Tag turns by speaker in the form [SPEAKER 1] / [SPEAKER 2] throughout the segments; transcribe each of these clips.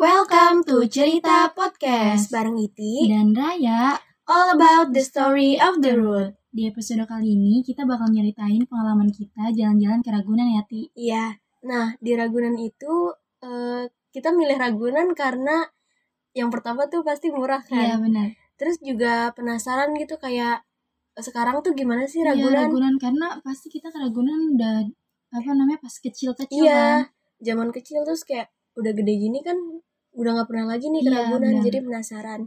[SPEAKER 1] Welcome to Cerita Podcast
[SPEAKER 2] bareng Iti.
[SPEAKER 1] dan Raya.
[SPEAKER 2] All about the story of the road.
[SPEAKER 1] Di episode kali ini kita bakal nyeritain pengalaman kita jalan-jalan ke Ragunan ya Ti.
[SPEAKER 2] Iya. Nah, di Ragunan itu eh, kita milih Ragunan karena yang pertama tuh pasti murah
[SPEAKER 1] Iya
[SPEAKER 2] kan.
[SPEAKER 1] benar.
[SPEAKER 2] Terus juga penasaran gitu kayak eh, sekarang tuh gimana sih
[SPEAKER 1] Iya
[SPEAKER 2] Ragunan?
[SPEAKER 1] Ragunan karena pasti kita ke Ragunan udah apa namanya pas kecil-kecil kan.
[SPEAKER 2] Iya. Zaman kecil terus kayak udah gede gini kan udah nggak pernah lagi nih ke
[SPEAKER 1] Iya,
[SPEAKER 2] Ragunan
[SPEAKER 1] benar.
[SPEAKER 2] jadi penasaran.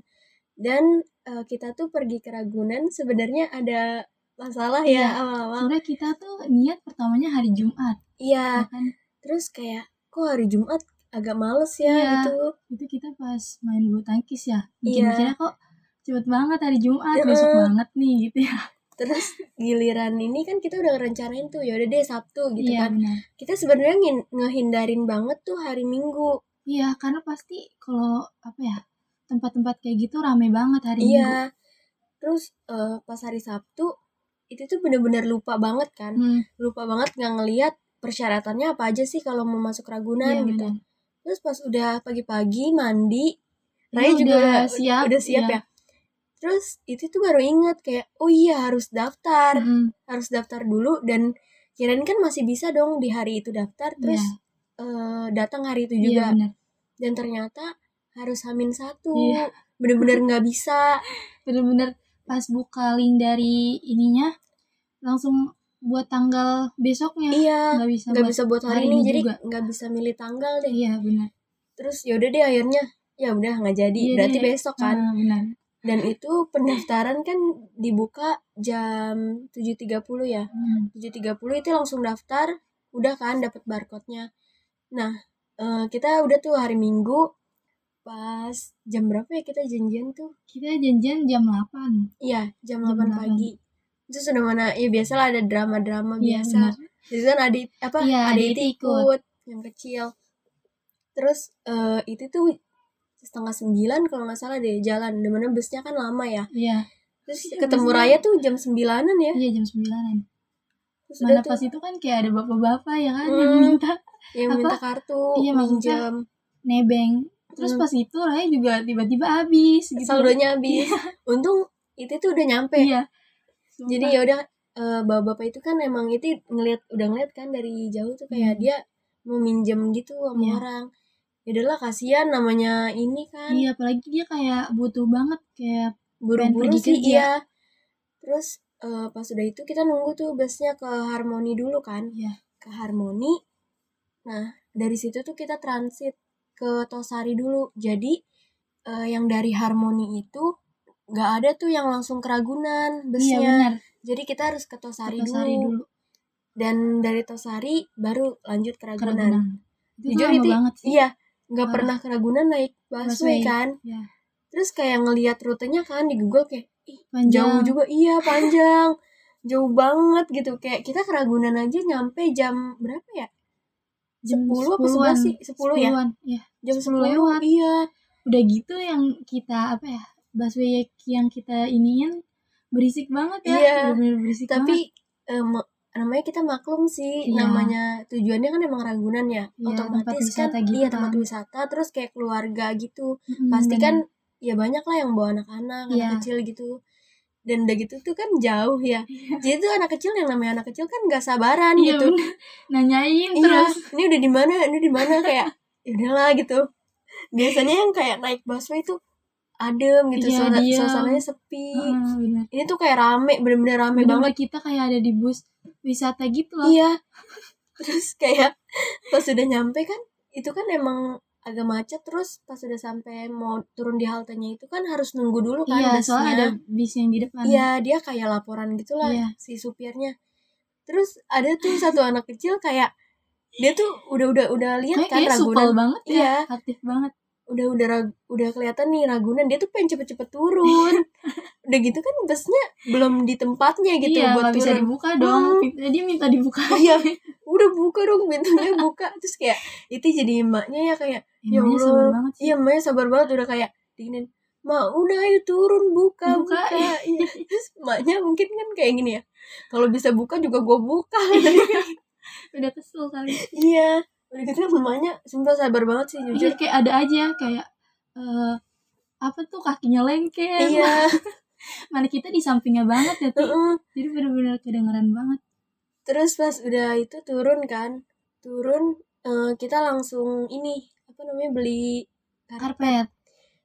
[SPEAKER 2] Dan eh, kita tuh pergi ke Ragunan sebenarnya ada masalah
[SPEAKER 1] Iya.
[SPEAKER 2] ya awal-awal.
[SPEAKER 1] Soalnya kita tuh niat pertamanya hari Jumat.
[SPEAKER 2] Iya.
[SPEAKER 1] ya kan
[SPEAKER 2] terus kayak kok hari Jumat agak males ya
[SPEAKER 1] Iya.
[SPEAKER 2] gitu
[SPEAKER 1] itu kita pas main bulu tangkis ya. Bikin
[SPEAKER 2] Iya.
[SPEAKER 1] mikirnya kok cepet banget hari Jumat
[SPEAKER 2] Iya.
[SPEAKER 1] besok banget nih gitu ya.
[SPEAKER 2] terus giliran ini kan kita udah rencanain tuh yaudah deh Sabtu gitu
[SPEAKER 1] iya
[SPEAKER 2] kan
[SPEAKER 1] benar.
[SPEAKER 2] kita sebenarnya ngin- ngehindarin banget tuh hari Minggu
[SPEAKER 1] Iya karena pasti kalau apa ya tempat-tempat kayak gitu rame banget hari
[SPEAKER 2] iya
[SPEAKER 1] Minggu.
[SPEAKER 2] terus eh, pas hari Sabtu itu tuh bener-bener lupa banget kan
[SPEAKER 1] Hmm.
[SPEAKER 2] lupa banget nggak ngeliat persyaratannya apa aja sih kalau mau masuk Ragunan
[SPEAKER 1] Iya,
[SPEAKER 2] gitu
[SPEAKER 1] benar.
[SPEAKER 2] terus pas udah pagi-pagi mandi Raya
[SPEAKER 1] Lu
[SPEAKER 2] juga
[SPEAKER 1] Iya, udah
[SPEAKER 2] udah
[SPEAKER 1] siap,
[SPEAKER 2] udah siap
[SPEAKER 1] iya.
[SPEAKER 2] ya terus itu tuh baru inget kayak oh iya harus daftar
[SPEAKER 1] Mm-mm.
[SPEAKER 2] harus daftar dulu dan kirain kan masih bisa dong di hari itu daftar terus eh, datang hari itu
[SPEAKER 1] Iya,
[SPEAKER 2] juga
[SPEAKER 1] benar.
[SPEAKER 2] dan ternyata harus hamin satu
[SPEAKER 1] Iya.
[SPEAKER 2] bener-bener nggak bisa
[SPEAKER 1] Bener-bener pas buka link dari ininya langsung buat tanggal besoknya.
[SPEAKER 2] iya
[SPEAKER 1] Nggak bisa
[SPEAKER 2] nggak
[SPEAKER 1] buat-
[SPEAKER 2] bisa buat hari,
[SPEAKER 1] hari
[SPEAKER 2] ini
[SPEAKER 1] ini
[SPEAKER 2] jadi
[SPEAKER 1] juga.
[SPEAKER 2] nggak bisa milih tanggal deh
[SPEAKER 1] Iya, benar.
[SPEAKER 2] terus yaudah deh akhirnya ya udah nggak jadi
[SPEAKER 1] Iya
[SPEAKER 2] berarti
[SPEAKER 1] deh.
[SPEAKER 2] besok kan
[SPEAKER 1] Ah, benar.
[SPEAKER 2] dan itu pendaftaran kan dibuka jam 7.30 ya
[SPEAKER 1] Hmm.
[SPEAKER 2] 7.30 itu langsung daftar udah kan dapat barcode-nya nah eh, kita udah tuh hari minggu pas jam berapa ya kita janjian tuh
[SPEAKER 1] Kita janjian jam 8.
[SPEAKER 2] iya jam,
[SPEAKER 1] Jam
[SPEAKER 2] 8
[SPEAKER 1] 8.
[SPEAKER 2] pagi itu sudah mana ya biasalah ada drama-drama
[SPEAKER 1] Iya,
[SPEAKER 2] biasa
[SPEAKER 1] benar.
[SPEAKER 2] jadi kan adik apa
[SPEAKER 1] Iya,
[SPEAKER 2] ada
[SPEAKER 1] adik
[SPEAKER 2] itu
[SPEAKER 1] itu ikut.
[SPEAKER 2] ikut yang kecil terus eh, itu tuh setengah sembilan kalau nggak salah deh jalan dimana busnya kan lama ya
[SPEAKER 1] Iya.
[SPEAKER 2] terus
[SPEAKER 1] Iya,
[SPEAKER 2] ketemu
[SPEAKER 1] busnya-
[SPEAKER 2] Raya tuh jam sembilanan ya
[SPEAKER 1] Iya, jam 9-an.
[SPEAKER 2] terus udah
[SPEAKER 1] Mana
[SPEAKER 2] tuh
[SPEAKER 1] pas itu kan kayak ada bapak-bapak ya kan
[SPEAKER 2] Hmm.
[SPEAKER 1] yang minta
[SPEAKER 2] yang
[SPEAKER 1] apa?
[SPEAKER 2] minta kartu
[SPEAKER 1] Iya, maksudnya
[SPEAKER 2] minjem
[SPEAKER 1] nebeng. Terus
[SPEAKER 2] Hmm.
[SPEAKER 1] pas itu Raya juga tiba-tiba habis gitu.
[SPEAKER 2] saldonya habis. Iya. Untung itu tuh udah nyampe.
[SPEAKER 1] Iya. Sumpah.
[SPEAKER 2] Jadi ya udah eh, bapak-bapak itu kan emang itu ngelihat udah ngeliat kan dari jauh tuh kayak
[SPEAKER 1] Hmm.
[SPEAKER 2] dia mau minjem gitu sama
[SPEAKER 1] Iya.
[SPEAKER 2] orang. Ya udahlah kasihan namanya ini kan
[SPEAKER 1] Iya, apalagi dia kayak butuh banget kayak
[SPEAKER 2] buru-buru
[SPEAKER 1] pengen pergi
[SPEAKER 2] sih
[SPEAKER 1] kerja.
[SPEAKER 2] dia. Terus eh, pas udah itu kita nunggu tuh busnya ke Harmoni dulu kan.
[SPEAKER 1] Iya.
[SPEAKER 2] Ke Harmoni. Nah, dari situ tuh kita transit ke Tosari dulu. Jadi eh, yang dari Harmoni itu nggak ada tuh yang langsung ke Ragunan busnya.
[SPEAKER 1] Iya benar.
[SPEAKER 2] Jadi kita harus ke Tosari,
[SPEAKER 1] Kertosari
[SPEAKER 2] dulu.
[SPEAKER 1] dulu
[SPEAKER 2] dan dari Tosari baru lanjut ke
[SPEAKER 1] ke
[SPEAKER 2] Ragunan.
[SPEAKER 1] Ragunan. Itu tuh
[SPEAKER 2] Jujur
[SPEAKER 1] lama
[SPEAKER 2] itu
[SPEAKER 1] banget sih.
[SPEAKER 2] iya nggak
[SPEAKER 1] Parah.
[SPEAKER 2] pernah ke Ragunan naik busway
[SPEAKER 1] Ah. Busway,
[SPEAKER 2] kan.
[SPEAKER 1] iya.
[SPEAKER 2] Terus kayak ngelihat rutenya kan di Google kayak ih
[SPEAKER 1] Panjang.
[SPEAKER 2] jauh juga iya panjang jauh banget gitu kayak kita ke Ragunan aja nyampe jam berapa ya?
[SPEAKER 1] Jam
[SPEAKER 2] 10 apa
[SPEAKER 1] 10-an.
[SPEAKER 2] 11 sih? 10 ya?
[SPEAKER 1] 10-an, iya.
[SPEAKER 2] Jam
[SPEAKER 1] 10
[SPEAKER 2] 10,
[SPEAKER 1] lewat.
[SPEAKER 2] iya.
[SPEAKER 1] Udah gitu yang kita apa ya? Busway yang kita iniin berisik banget ya.
[SPEAKER 2] Iya.
[SPEAKER 1] Bener-bener berisik banget.
[SPEAKER 2] tapi eh, ma- namanya kita maklum sih
[SPEAKER 1] Iya.
[SPEAKER 2] namanya tujuannya kan emang Ragunan ya
[SPEAKER 1] Iya, tempat
[SPEAKER 2] otomatis
[SPEAKER 1] wisata
[SPEAKER 2] kan
[SPEAKER 1] gitu
[SPEAKER 2] iya tempat
[SPEAKER 1] kan.
[SPEAKER 2] wisata terus kayak keluarga gitu
[SPEAKER 1] Mm,
[SPEAKER 2] pasti
[SPEAKER 1] bener.
[SPEAKER 2] kan ya banyak lah yang bawa anak-anak anak
[SPEAKER 1] Iya.
[SPEAKER 2] kecil gitu dan udah gitu tuh kan jauh ya jadi tuh anak kecil yang namanya anak kecil kan gak sabaran
[SPEAKER 1] Iya,
[SPEAKER 2] gitu
[SPEAKER 1] bener. nanyain
[SPEAKER 2] iya
[SPEAKER 1] terus.
[SPEAKER 2] ini udah di mana ini di mana kayak ya udahlah gitu biasanya yang kayak naik busway tuh adem gitu
[SPEAKER 1] Iya,
[SPEAKER 2] suasana-
[SPEAKER 1] diem.
[SPEAKER 2] suasananya sepi
[SPEAKER 1] Ah, bener.
[SPEAKER 2] ini tuh kayak rame bener-bener rame banget
[SPEAKER 1] Bener-bener kita kayak ada di bus wisata gitu loh.
[SPEAKER 2] Iya. Terus kayak pas udah nyampe kan itu kan emang agak macet terus pas udah sampai mau turun di haltenya itu kan harus nunggu dulu kan
[SPEAKER 1] Iya,
[SPEAKER 2] busnya.
[SPEAKER 1] soalnya ada bis yang di depan.
[SPEAKER 2] Iya, dia kayak laporan gitulah
[SPEAKER 1] Iya.
[SPEAKER 2] si supirnya. Terus ada tuh satu anak kecil kayak dia tuh udah udah udah lihat
[SPEAKER 1] Kayak-
[SPEAKER 2] kan
[SPEAKER 1] kayaknya supel
[SPEAKER 2] Ragunan.
[SPEAKER 1] banget ya.
[SPEAKER 2] Iya.
[SPEAKER 1] Aktif banget.
[SPEAKER 2] Udah udah rag- udah kelihatan nih Ragunan dia tuh pengen cepet-cepet turun. udah gitu kan busnya belum di tempatnya gitu
[SPEAKER 1] iya,
[SPEAKER 2] buat
[SPEAKER 1] nggak bisa
[SPEAKER 2] turun.
[SPEAKER 1] dibuka dong.
[SPEAKER 2] Hmm.
[SPEAKER 1] Pint- Dia minta dibuka.
[SPEAKER 2] Iya. udah buka dong pintunya buka terus kayak itu jadi emaknya ya kayak Ya
[SPEAKER 1] Emangnya
[SPEAKER 2] Allah.
[SPEAKER 1] sabar banget sih.
[SPEAKER 2] iya emaknya sabar banget udah kayak dingin ma udah ayo turun buka buka,
[SPEAKER 1] Buka,
[SPEAKER 2] Iya. terus emaknya mungkin kan kayak gini ya kalau bisa buka juga gue buka Tadi kan,
[SPEAKER 1] Udah kesel kali.
[SPEAKER 2] iya udah gitu emaknya kan sumpah sabar banget sih
[SPEAKER 1] Iya,
[SPEAKER 2] jujur
[SPEAKER 1] kayak ada aja kayak eh, apa tuh kakinya lengket
[SPEAKER 2] iya
[SPEAKER 1] mana kita di sampingnya banget ya Ti.
[SPEAKER 2] heeh.
[SPEAKER 1] jadi bener-bener kedengeran banget
[SPEAKER 2] terus pas udah itu turun kan turun eh, kita langsung ini apa namanya beli
[SPEAKER 1] karpet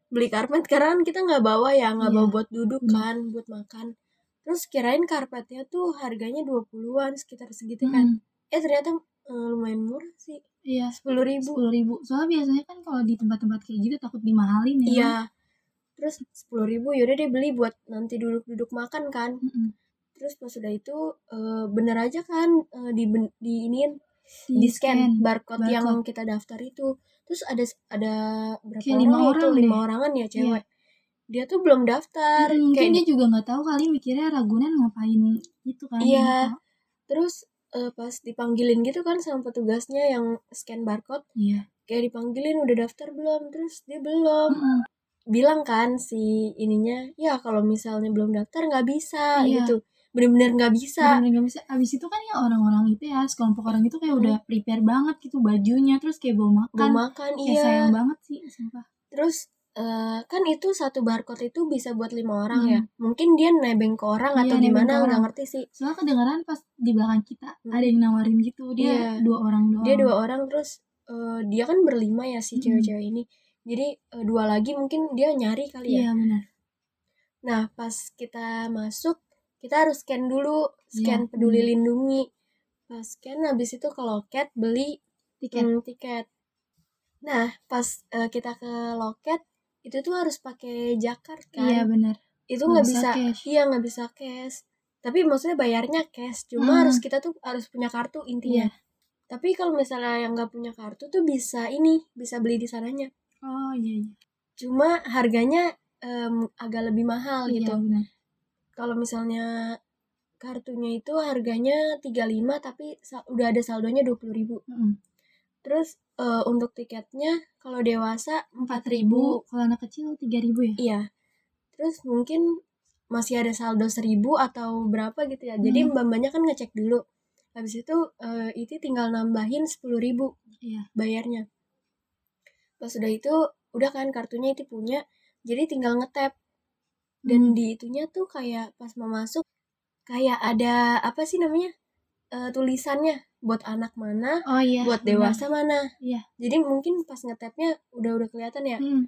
[SPEAKER 2] beli karpet karena kan kita nggak bawa ya nggak bawa
[SPEAKER 1] Iya.
[SPEAKER 2] buat duduk
[SPEAKER 1] Hmm.
[SPEAKER 2] kan buat makan terus kirain karpetnya tuh harganya 20-an sekitar segitu kan
[SPEAKER 1] Mm,
[SPEAKER 2] eh ternyata eh, lumayan murah sih
[SPEAKER 1] iya
[SPEAKER 2] sepuluh ribu
[SPEAKER 1] sepuluh ribu soalnya biasanya kan kalau di tempat-tempat kayak gitu takut dimahalin ya
[SPEAKER 2] iya terus sepuluh ribu yaudah deh beli buat nanti duduk-duduk makan kan
[SPEAKER 1] Mm-mm.
[SPEAKER 2] terus pas udah itu eh, bener aja kan eh, di ben- di iniin
[SPEAKER 1] di,
[SPEAKER 2] di scan barcode,
[SPEAKER 1] Iya kan? barcode.
[SPEAKER 2] yang kita daftar itu terus ada ada berapa
[SPEAKER 1] Kayak
[SPEAKER 2] orang,
[SPEAKER 1] lima
[SPEAKER 2] itu
[SPEAKER 1] orang deh.
[SPEAKER 2] lima
[SPEAKER 1] Iya.
[SPEAKER 2] orangan ya cewek dia tuh belum daftar
[SPEAKER 1] Mm, mungkin
[SPEAKER 2] kayak gitu.
[SPEAKER 1] dia juga nggak tahu kali mikirnya Ragunan ngapain itu kan
[SPEAKER 2] Iya. terus eh, pas dipanggilin gitu kan sama petugasnya yang scan barcode
[SPEAKER 1] iya
[SPEAKER 2] kayak dipanggilin udah daftar belum terus dia belum
[SPEAKER 1] Mm-mm.
[SPEAKER 2] bilang kan si ininya ya kalau misalnya belum daftar nggak bisa
[SPEAKER 1] Iya.
[SPEAKER 2] gitu bener-bener nggak bisa
[SPEAKER 1] bener-bener gak bisa abis itu kan ya orang-orang itu ya sekelompok orang itu kayak
[SPEAKER 2] Iya.
[SPEAKER 1] udah prepare banget gitu bajunya terus kayak bawa makan
[SPEAKER 2] belum makan
[SPEAKER 1] kan? kayak
[SPEAKER 2] iya
[SPEAKER 1] sayang banget sih sumpah
[SPEAKER 2] terus eh, kan itu satu barcode itu bisa buat lima orang
[SPEAKER 1] Hmm.
[SPEAKER 2] ya mungkin dia nebeng ke orang
[SPEAKER 1] Iya,
[SPEAKER 2] atau
[SPEAKER 1] nebeng ke
[SPEAKER 2] gimana nggak
[SPEAKER 1] orang.
[SPEAKER 2] ngerti sih
[SPEAKER 1] soalnya kedengeran pas di belakang kita
[SPEAKER 2] Hmm.
[SPEAKER 1] ada yang nawarin gitu dia
[SPEAKER 2] Iya.
[SPEAKER 1] dua orang doang
[SPEAKER 2] dia dua orang terus eh, dia kan berlima ya
[SPEAKER 1] Oh.
[SPEAKER 2] si
[SPEAKER 1] Mm-mm.
[SPEAKER 2] cewek-cewek ini jadi eh, dua lagi mungkin dia nyari kali ya
[SPEAKER 1] iya benar
[SPEAKER 2] nah pas kita masuk kita harus scan dulu scan
[SPEAKER 1] Iya,
[SPEAKER 2] peduli
[SPEAKER 1] bener.
[SPEAKER 2] lindungi pas scan habis itu ke loket beli
[SPEAKER 1] tiket
[SPEAKER 2] Hmm, tiket. Nah, pas eh, kita ke loket itu tuh harus pakai Jakarta kan.
[SPEAKER 1] iya benar
[SPEAKER 2] itu
[SPEAKER 1] nggak
[SPEAKER 2] nggak
[SPEAKER 1] bisa
[SPEAKER 2] bisa,
[SPEAKER 1] cash.
[SPEAKER 2] iya nggak bisa cash. Tapi maksudnya bayarnya cash, cuma
[SPEAKER 1] Hmm. Iya.
[SPEAKER 2] harus kita tuh harus punya kartu intinya. Tapi kalau misalnya yang nggak punya kartu tuh bisa ini, bisa beli di sananya.
[SPEAKER 1] oh iya iya
[SPEAKER 2] Cuma harganya em, agak lebih mahal
[SPEAKER 1] iya
[SPEAKER 2] gitu.
[SPEAKER 1] benar
[SPEAKER 2] Kalau misalnya kartunya itu harganya 35 tapi sa- udah ada saldonya 20.000
[SPEAKER 1] Mm-mm.
[SPEAKER 2] Terus eh, untuk tiketnya kalau dewasa
[SPEAKER 1] empat ribu kalau anak kecil tiga ribu ya
[SPEAKER 2] Iya. Terus mungkin masih ada saldo seribu atau berapa gitu ya. Jadi
[SPEAKER 1] Hmm.
[SPEAKER 2] mbak-mbaknya kan ngecek dulu. Habis itu eh, itu tinggal nambahin sepuluh ribu
[SPEAKER 1] iya
[SPEAKER 2] bayarnya. Pas udah itu udah kan kartunya itu punya. Jadi tinggal ngetap dan
[SPEAKER 1] Hmm.
[SPEAKER 2] di itunya tuh kayak pas mau masuk kayak ada apa sih namanya Eh, tulisannya buat anak mana,
[SPEAKER 1] oh iya
[SPEAKER 2] buat
[SPEAKER 1] benar.
[SPEAKER 2] dewasa mana.
[SPEAKER 1] Iya.
[SPEAKER 2] Jadi mungkin pas ngetapnya udah udah kelihatan ya.
[SPEAKER 1] Hmm.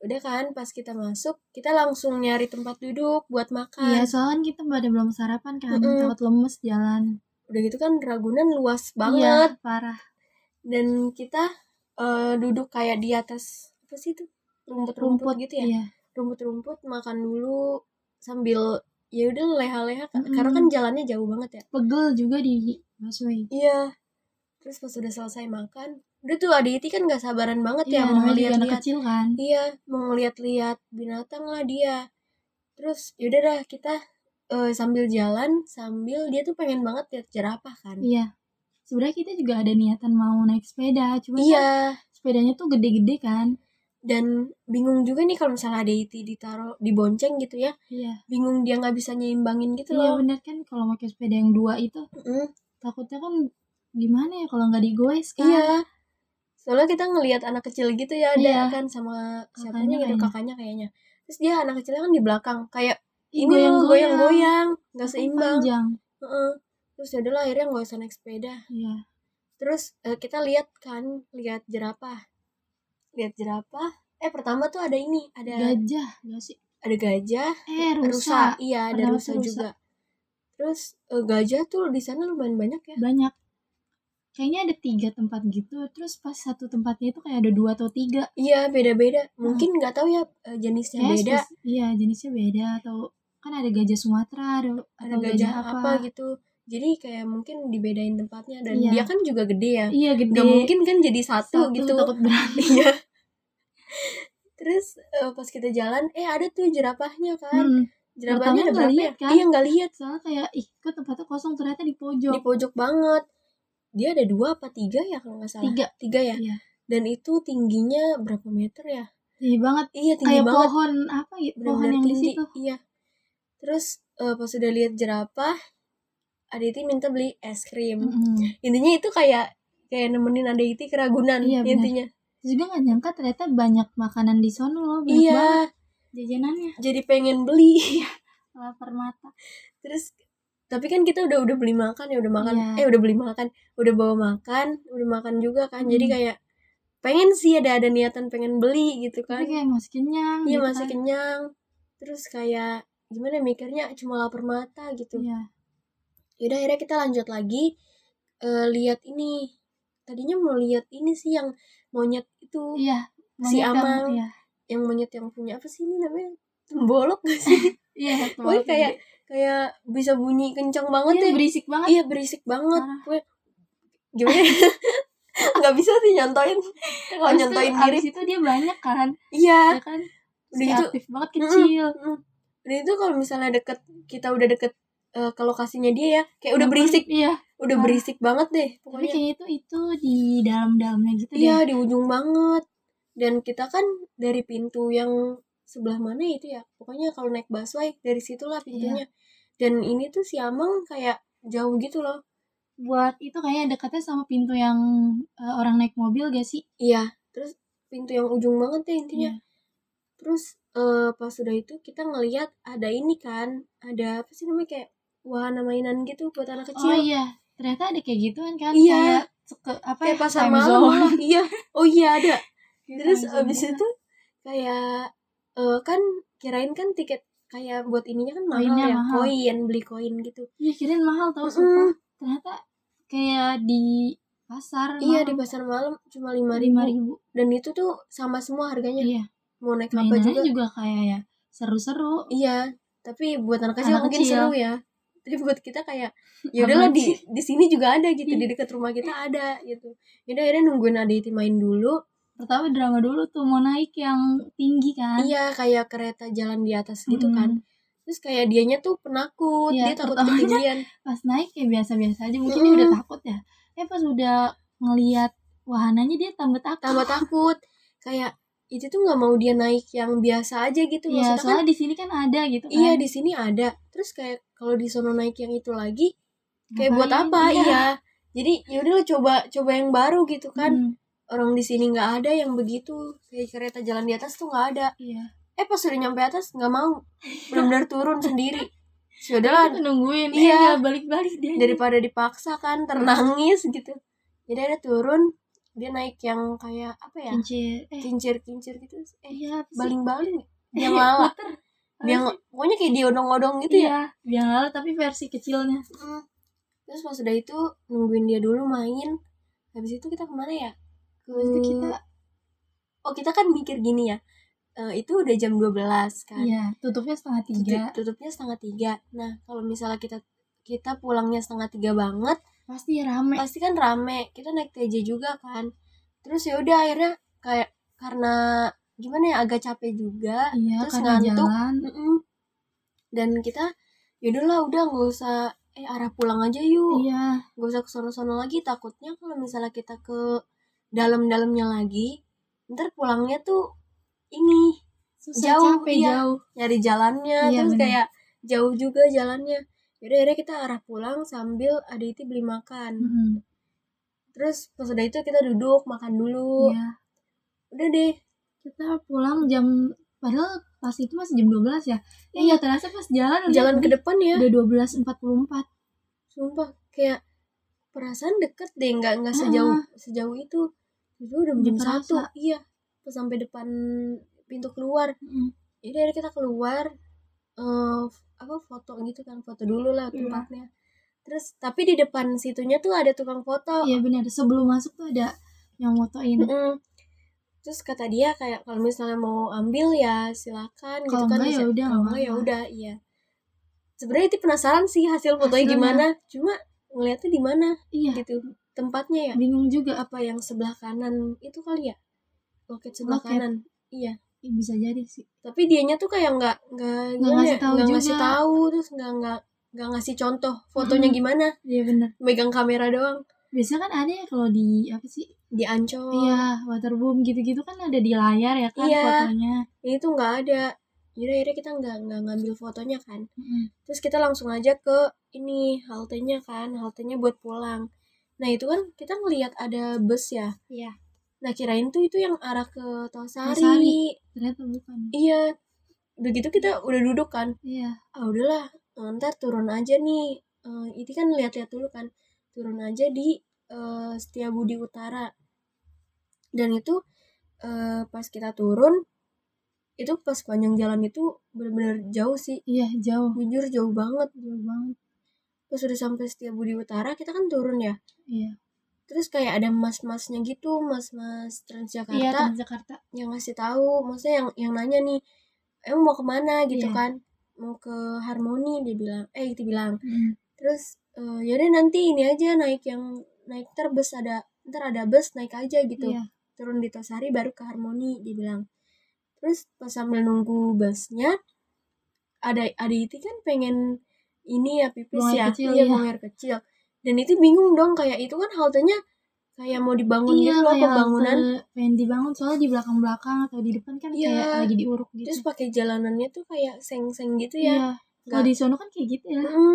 [SPEAKER 2] Udah kan pas kita masuk kita langsung nyari tempat duduk buat makan.
[SPEAKER 1] Iya, soalnya kan kita pada belum sarapan kan,
[SPEAKER 2] Ah. Mm-mm.
[SPEAKER 1] takut lemes jalan.
[SPEAKER 2] udah gitu kan Ragunan luas banget
[SPEAKER 1] Iya, parah.
[SPEAKER 2] dan kita eh, duduk kayak di atas apa sih itu rumput-rumput
[SPEAKER 1] Rumput
[SPEAKER 2] gitu ya
[SPEAKER 1] Iya.
[SPEAKER 2] rumput-rumput makan dulu sambil ya udah leha-leha ka-
[SPEAKER 1] Mm-mm.
[SPEAKER 2] karena kan jalannya jauh banget ya
[SPEAKER 1] Pegel juga di busway.
[SPEAKER 2] iya terus pas udah selesai makan udah tuh adik Iti kan gak sabaran banget
[SPEAKER 1] Iya,
[SPEAKER 2] ya mau
[SPEAKER 1] namanya juga anak
[SPEAKER 2] lihat-lihat
[SPEAKER 1] kecil kan.
[SPEAKER 2] iya mau lihat-lihat binatang lah dia terus yaudah dah kita eh, sambil jalan sambil dia tuh pengen banget lihat jerapah kan
[SPEAKER 1] Iya. Sebenarnya kita juga ada niatan mau naik sepeda, cuma kan
[SPEAKER 2] iya
[SPEAKER 1] sepedanya tuh gede-gede kan.
[SPEAKER 2] dan bingung juga nih kalau misalnya ada itu ditaruh dibonceng gitu ya
[SPEAKER 1] Iya.
[SPEAKER 2] bingung dia nggak bisa nyimbangin gitu
[SPEAKER 1] Iya
[SPEAKER 2] loh
[SPEAKER 1] bener kan kalau pakai sepeda yang dua itu
[SPEAKER 2] Mm,
[SPEAKER 1] takutnya kan gimana ya kalau nggak digoes kan.
[SPEAKER 2] iya soalnya kita ngelihat anak kecil gitu ya
[SPEAKER 1] Iya.
[SPEAKER 2] ada kan sama
[SPEAKER 1] Kakaknya
[SPEAKER 2] siapanya gitu
[SPEAKER 1] kayaknya.
[SPEAKER 2] kakaknya kayaknya terus dia anak kecilnya kan di belakang kayak
[SPEAKER 1] Ih,
[SPEAKER 2] ini loh goyang-goyang nggak
[SPEAKER 1] Kan
[SPEAKER 2] seimbang
[SPEAKER 1] Panjang.
[SPEAKER 2] Heeh. terus ya udahlah akhirnya nggak usah naik sepeda
[SPEAKER 1] Iya.
[SPEAKER 2] terus eh, kita lihat kan lihat jerapah lihat jerapah eh pertama tuh ada ini ada
[SPEAKER 1] Gajah nggak sih?
[SPEAKER 2] ada gajah
[SPEAKER 1] Eh,
[SPEAKER 2] rusa,
[SPEAKER 1] rusa.
[SPEAKER 2] iya ada
[SPEAKER 1] Pertama
[SPEAKER 2] rusa,
[SPEAKER 1] tuh rusa.
[SPEAKER 2] juga terus eh, gajah tuh di sana lumayan banyak ya
[SPEAKER 1] Banyak. Kayaknya ada tiga tempat gitu, terus pas satu tempatnya itu kayak ada dua atau tiga.
[SPEAKER 2] iya beda-beda mungkin nggak tahu ya eh, jenisnya
[SPEAKER 1] Kayaknya
[SPEAKER 2] beda
[SPEAKER 1] spes- iya jenisnya beda atau kan ada gajah Sumatera ada,
[SPEAKER 2] ada
[SPEAKER 1] atau
[SPEAKER 2] gajah, apa? gitu jadi kayak mungkin dibedain tempatnya dan
[SPEAKER 1] Iya.
[SPEAKER 2] dia kan juga gede ya
[SPEAKER 1] Iya gede.
[SPEAKER 2] nggak mungkin kan jadi satu,
[SPEAKER 1] Satu
[SPEAKER 2] gitu
[SPEAKER 1] takut berantem.
[SPEAKER 2] iya terus eh, pas kita jalan eh ada tuh jerapahnya kan
[SPEAKER 1] Mm. Pertama
[SPEAKER 2] jerapahnya ada
[SPEAKER 1] nggak
[SPEAKER 2] berapa
[SPEAKER 1] lihat,
[SPEAKER 2] ya
[SPEAKER 1] kan?
[SPEAKER 2] iya nggak lihat
[SPEAKER 1] Soalnya kayak ih kok tempatnya kosong ternyata di
[SPEAKER 2] di
[SPEAKER 1] pojok.
[SPEAKER 2] pojok banget dia ada dua apa tiga ya kalau nggak salah
[SPEAKER 1] Tiga.
[SPEAKER 2] tiga ya
[SPEAKER 1] Iya.
[SPEAKER 2] dan itu tingginya berapa meter ya
[SPEAKER 1] Tinggi banget.
[SPEAKER 2] iya tinggi
[SPEAKER 1] Kayak
[SPEAKER 2] banget
[SPEAKER 1] pohon apa ya? Pohon
[SPEAKER 2] benar-benar
[SPEAKER 1] yang
[SPEAKER 2] tinggi
[SPEAKER 1] di situ.
[SPEAKER 2] iya terus eh, pas udah lihat jerapah Aditi minta beli es krim
[SPEAKER 1] Mm-mm.
[SPEAKER 2] intinya itu kayak kayak nemenin Aditi keragunan
[SPEAKER 1] Iya, benar.
[SPEAKER 2] intinya
[SPEAKER 1] Terus juga nggak nyangka ternyata banyak makanan di sono loh, banyak
[SPEAKER 2] iya
[SPEAKER 1] banget jajanannya,
[SPEAKER 2] jadi pengen beli
[SPEAKER 1] lapar mata.
[SPEAKER 2] terus tapi kan kita udah udah beli makan ya udah makan
[SPEAKER 1] Iya.
[SPEAKER 2] eh udah beli makan udah bawa makan udah makan juga kan jadi
[SPEAKER 1] Hmm.
[SPEAKER 2] kayak pengen sih ada ada niatan pengen beli gitu
[SPEAKER 1] Tapi
[SPEAKER 2] kan
[SPEAKER 1] kayak masih kenyang.
[SPEAKER 2] iya
[SPEAKER 1] gitu
[SPEAKER 2] masih
[SPEAKER 1] kan.
[SPEAKER 2] kenyang terus kayak gimana ya, mikirnya cuma lapar mata gitu
[SPEAKER 1] Iya.
[SPEAKER 2] yaudah akhirnya kita lanjut lagi eh, lihat ini tadinya mau lihat ini sih yang monyet itu
[SPEAKER 1] Iya. monyet
[SPEAKER 2] Si
[SPEAKER 1] yang-
[SPEAKER 2] Amang.
[SPEAKER 1] Iya.
[SPEAKER 2] yang monyet yang punya apa sih ini namanya tembolok gak sih
[SPEAKER 1] Iya. satu
[SPEAKER 2] Pokoknya
[SPEAKER 1] orang
[SPEAKER 2] kayak
[SPEAKER 1] gede.
[SPEAKER 2] kayak bisa bunyi kencang banget
[SPEAKER 1] Iya,
[SPEAKER 2] ya
[SPEAKER 1] berisik banget.
[SPEAKER 2] iya berisik banget
[SPEAKER 1] Parah.
[SPEAKER 2] gue gimana nggak bisa sih nyontoin kalau
[SPEAKER 1] Abis itu-
[SPEAKER 2] nyontoin diri
[SPEAKER 1] abis itu dia banyak kan,
[SPEAKER 2] iya
[SPEAKER 1] ya kan?
[SPEAKER 2] udah
[SPEAKER 1] Si
[SPEAKER 2] gitu
[SPEAKER 1] aktif banget
[SPEAKER 2] Mm-mm.
[SPEAKER 1] kecil.
[SPEAKER 2] mm. dan itu kalau misalnya deket kita udah deket eh, ke lokasinya dia ya kayak udah
[SPEAKER 1] Nggak
[SPEAKER 2] berisik
[SPEAKER 1] perlu- Iya.
[SPEAKER 2] udah
[SPEAKER 1] parah.
[SPEAKER 2] berisik banget deh
[SPEAKER 1] Tapi
[SPEAKER 2] pokoknya
[SPEAKER 1] kayaknya itu itu di dalam-dalamnya gitu deh.
[SPEAKER 2] iya di ujung banget dan kita kan dari pintu yang sebelah mana itu ya pokoknya kalau naik busway dari situlah
[SPEAKER 1] Iya.
[SPEAKER 2] pintunya dan ini tuh si Amang kayak jauh gitu loh
[SPEAKER 1] Buat itu kayaknya dekatnya sama pintu yang eh, orang naik mobil gak sih?
[SPEAKER 2] iya terus pintu yang ujung banget deh intinya
[SPEAKER 1] Iya.
[SPEAKER 2] terus eh, pas udah itu kita ngeliat ada ini kan ada apa sih namanya kayak wahana mainan gitu buat
[SPEAKER 1] Oh
[SPEAKER 2] anak kecil
[SPEAKER 1] iya, ternyata ada kayak gituan kan? Kayak
[SPEAKER 2] Iya.
[SPEAKER 1] ke apa
[SPEAKER 2] kayak
[SPEAKER 1] ya,
[SPEAKER 2] pasar
[SPEAKER 1] time zone.
[SPEAKER 2] malam iya oh iya ada
[SPEAKER 1] Kayak
[SPEAKER 2] terus
[SPEAKER 1] time zone
[SPEAKER 2] abis
[SPEAKER 1] gitu.
[SPEAKER 2] itu kayak eh, kan kirain kan tiket kayak buat ininya kan mahal
[SPEAKER 1] Koinnya
[SPEAKER 2] ya
[SPEAKER 1] mahal.
[SPEAKER 2] koin beli koin gitu
[SPEAKER 1] Iya, kirain mahal tau sumpah.
[SPEAKER 2] Mm-mm.
[SPEAKER 1] Ternyata kayak di pasar
[SPEAKER 2] iya di pasar malam cuma lima
[SPEAKER 1] lima ribu.
[SPEAKER 2] ribu dan itu tuh sama semua harganya
[SPEAKER 1] Iya,
[SPEAKER 2] mau naik apa
[SPEAKER 1] mainannya
[SPEAKER 2] juga
[SPEAKER 1] juga. kayak ya seru-seru.
[SPEAKER 2] Iya, tapi buat anak kecil
[SPEAKER 1] Anak
[SPEAKER 2] mungkin
[SPEAKER 1] kecil.
[SPEAKER 2] seru ya. Tapi buat kita kayak ya udahlah
[SPEAKER 1] Apaan
[SPEAKER 2] di
[SPEAKER 1] sih?
[SPEAKER 2] di sini juga ada gitu,
[SPEAKER 1] Iya.
[SPEAKER 2] di dekat rumah kita ada gitu. Jadi akhirnya nungguin Aditi main dulu.
[SPEAKER 1] Pertama drama dulu tuh mau naik yang tinggi kan?
[SPEAKER 2] Iya, kayak kereta jalan di atas gitu kan.
[SPEAKER 1] Mm-mm.
[SPEAKER 2] Terus kayak dianya tuh penakut,
[SPEAKER 1] Hmm. Iya,
[SPEAKER 2] dia takut
[SPEAKER 1] pertamanya-
[SPEAKER 2] ketinggian.
[SPEAKER 1] Pas naik kayak biasa-biasa aja. Mungkin dia
[SPEAKER 2] Mm-mm.
[SPEAKER 1] udah takut ya. Eh pas udah ngeliat wahananya dia tambah takut.
[SPEAKER 2] Tambah takut. Kayak itu tuh nggak mau dia naik yang biasa aja gitu.
[SPEAKER 1] Iya,
[SPEAKER 2] Maksudnya kan
[SPEAKER 1] soalnya di sini kan ada gitu kan.
[SPEAKER 2] iya di sini ada. Terus kayak kalau di sono naik yang itu lagi kayak buat
[SPEAKER 1] Ngapain?
[SPEAKER 2] apa? Iya. Jadi ya udahlah coba coba yang baru gitu kan.
[SPEAKER 1] Mm,
[SPEAKER 2] orang di sini nggak ada yang begitu kayak kereta jalan di atas tuh nggak ada
[SPEAKER 1] iya.
[SPEAKER 2] eh pas udah nyampe atas nggak mau benar-benar turun sendiri
[SPEAKER 1] Kita
[SPEAKER 2] sudah
[SPEAKER 1] tuh nungguin, eh,
[SPEAKER 2] Kan. Iya.
[SPEAKER 1] nggak balik-balik dia.
[SPEAKER 2] daripada dipaksa kan ternangis gitu jadi ada turun dia naik yang kayak apa ya
[SPEAKER 1] kincir. Eh,
[SPEAKER 2] kincir kincir gitu eh
[SPEAKER 1] iya. apa sih?
[SPEAKER 2] baling-baling yang lala
[SPEAKER 1] Apa
[SPEAKER 2] yang
[SPEAKER 1] sih?
[SPEAKER 2] pokoknya kayak diodong-odong gitu ya
[SPEAKER 1] iya, biang lala tapi versi kecilnya.
[SPEAKER 2] Mm. terus pas udah itu nungguin dia dulu main habis itu kita kemana ya ke
[SPEAKER 1] Habis itu kita
[SPEAKER 2] oh kita kan mikir gini ya Eh itu udah jam 12 kan
[SPEAKER 1] iya, tutupnya setengah tiga.
[SPEAKER 2] Tutup- tutupnya setengah tiga nah kalau misalnya kita kita pulangnya setengah tiga banget
[SPEAKER 1] Pasti rame.
[SPEAKER 2] pasti kan rame kita naik TJ juga kan terus ya udah akhirnya kayak karena gimana ya agak capek juga
[SPEAKER 1] iya,
[SPEAKER 2] Oh, terus
[SPEAKER 1] karena
[SPEAKER 2] ngantuk.
[SPEAKER 1] jalan.
[SPEAKER 2] Mm-mm. dan kita yaudahlah udah nggak usah eh arah pulang aja yuk
[SPEAKER 1] Iya,
[SPEAKER 2] nggak usah ke sono-sono lagi takutnya kalau misalnya kita ke dalam-dalamnya lagi ntar pulangnya tuh ini
[SPEAKER 1] susah
[SPEAKER 2] Jauh,
[SPEAKER 1] capek
[SPEAKER 2] iya.
[SPEAKER 1] jauh.
[SPEAKER 2] nyari jalannya
[SPEAKER 1] Iya,
[SPEAKER 2] terus
[SPEAKER 1] bener.
[SPEAKER 2] kayak jauh juga jalannya jadi akhirnya kita arah pulang sambil Aditi beli makan
[SPEAKER 1] Mm-mm,
[SPEAKER 2] terus pas udah itu kita duduk makan dulu
[SPEAKER 1] Iya.
[SPEAKER 2] udah deh
[SPEAKER 1] Kita pulang jam padahal pas itu masih jam 12 ya. Eh,
[SPEAKER 2] Iya.
[SPEAKER 1] nggak terasa pas jalan
[SPEAKER 2] jalan ke
[SPEAKER 1] udah,
[SPEAKER 2] depan ya
[SPEAKER 1] udah 12.44.
[SPEAKER 2] sumpah kayak perasaan deket deh nggak
[SPEAKER 1] Ah.
[SPEAKER 2] nggak sejauh sejauh itu itu udah
[SPEAKER 1] Udah
[SPEAKER 2] jam
[SPEAKER 1] kerasa.
[SPEAKER 2] satu iya pas sampai depan pintu keluar
[SPEAKER 1] Mm-mm.
[SPEAKER 2] jadi akhirnya kita keluar eh, f- apa foto gitu kan foto dulu lah
[SPEAKER 1] Iya.
[SPEAKER 2] tempatnya terus tapi di depan situnya tuh ada tukang foto
[SPEAKER 1] Iya benar, sebelum masuk tuh ada yang motoin.
[SPEAKER 2] Mm-mm. Terus kata dia kayak kalau misalnya mau ambil ya silakan gitu
[SPEAKER 1] Kalau
[SPEAKER 2] kan.
[SPEAKER 1] enggak ya
[SPEAKER 2] bisa-
[SPEAKER 1] udah,
[SPEAKER 2] Kalau
[SPEAKER 1] nggak
[SPEAKER 2] enggak ya
[SPEAKER 1] apa-apa.
[SPEAKER 2] udah, iya. Sebenarnya itu penasaran sih hasil fotonya
[SPEAKER 1] Hasilnya.
[SPEAKER 2] gimana. Cuma ngeliatnya di mana
[SPEAKER 1] Iya,
[SPEAKER 2] gitu. Tempatnya ya
[SPEAKER 1] bingung juga
[SPEAKER 2] apa yang sebelah kanan itu kali ya? Loket sebelah
[SPEAKER 1] Loket.
[SPEAKER 2] kanan. Iya.
[SPEAKER 1] Ih, bisa jadi sih.
[SPEAKER 2] Tapi dianya tuh kayak nggak nggak gimana
[SPEAKER 1] ngasih
[SPEAKER 2] ya,
[SPEAKER 1] tahu
[SPEAKER 2] nggak ngasih
[SPEAKER 1] juga.
[SPEAKER 2] tahu terus nggak nggak nggak ngasih contoh fotonya
[SPEAKER 1] Mm-mm.
[SPEAKER 2] gimana
[SPEAKER 1] Iya benar.
[SPEAKER 2] megang kamera doang
[SPEAKER 1] Biasanya kan ada ya kalau di apa sih?
[SPEAKER 2] diancol
[SPEAKER 1] Iya, waterboom gitu-gitu kan ada di layar ya kan
[SPEAKER 2] Oh. Iya.
[SPEAKER 1] fotonya.
[SPEAKER 2] ini tuh nggak ada jadi akhirnya kita nggak nggak ngambil fotonya kan
[SPEAKER 1] Mm-mm.
[SPEAKER 2] terus kita langsung aja ke ini haltenya kan haltenya buat pulang nah itu kan kita ngelihat ada bus ya
[SPEAKER 1] Iya.
[SPEAKER 2] Nah kirain tuh itu yang arah ke Tosari.
[SPEAKER 1] Tosari. ternyata bukan
[SPEAKER 2] Iya. Udah gitu kita udah duduk kan.
[SPEAKER 1] iya
[SPEAKER 2] ah udahlah eh, ntar turun aja nih Eh, ini kan lihat-lihat dulu kan turun aja di eh, Setiabudi Utara dan itu eh, pas kita turun itu pas panjang jalan itu bener-bener jauh sih
[SPEAKER 1] iya jauh
[SPEAKER 2] jujur jauh banget
[SPEAKER 1] jauh banget
[SPEAKER 2] pas udah sampai Setiabudi Utara kita kan turun ya
[SPEAKER 1] iya
[SPEAKER 2] terus kayak ada mas-masnya gitu mas-mas
[SPEAKER 1] iya
[SPEAKER 2] Transjakarta
[SPEAKER 1] Transjakarta
[SPEAKER 2] yang ngasih tahu maksudnya yang yang nanya nih emang mau kemana gitu
[SPEAKER 1] Iya.
[SPEAKER 2] kan mau ke Harmoni dia bilang eh kita bilang
[SPEAKER 1] Mm.
[SPEAKER 2] terus eh, yaudah nanti ini aja naik yang naik ntar bus ada ntar ada bus naik aja gitu
[SPEAKER 1] iya
[SPEAKER 2] turun di Tosari baru ke Harmoni dia bilang terus pas sambil nunggu busnya ada ada itu kan pengen ini ya pipis
[SPEAKER 1] Buang air
[SPEAKER 2] ya
[SPEAKER 1] kecil,
[SPEAKER 2] iya
[SPEAKER 1] iya.
[SPEAKER 2] buang air kecil dan itu bingung dong kayak itu kan haltenya kayak mau dibangun
[SPEAKER 1] iya
[SPEAKER 2] gitu loh
[SPEAKER 1] kayak
[SPEAKER 2] pembangunan
[SPEAKER 1] halte pengen dibangun soalnya di belakang belakang atau di depan kan
[SPEAKER 2] Iya.
[SPEAKER 1] kayak lagi diuruk gitu
[SPEAKER 2] terus pakai jalanannya tuh kayak seng-seng gitu ya
[SPEAKER 1] iya kalau
[SPEAKER 2] Nggak- Iya.
[SPEAKER 1] di sono kan kayak gitu ya
[SPEAKER 2] Mm-mm.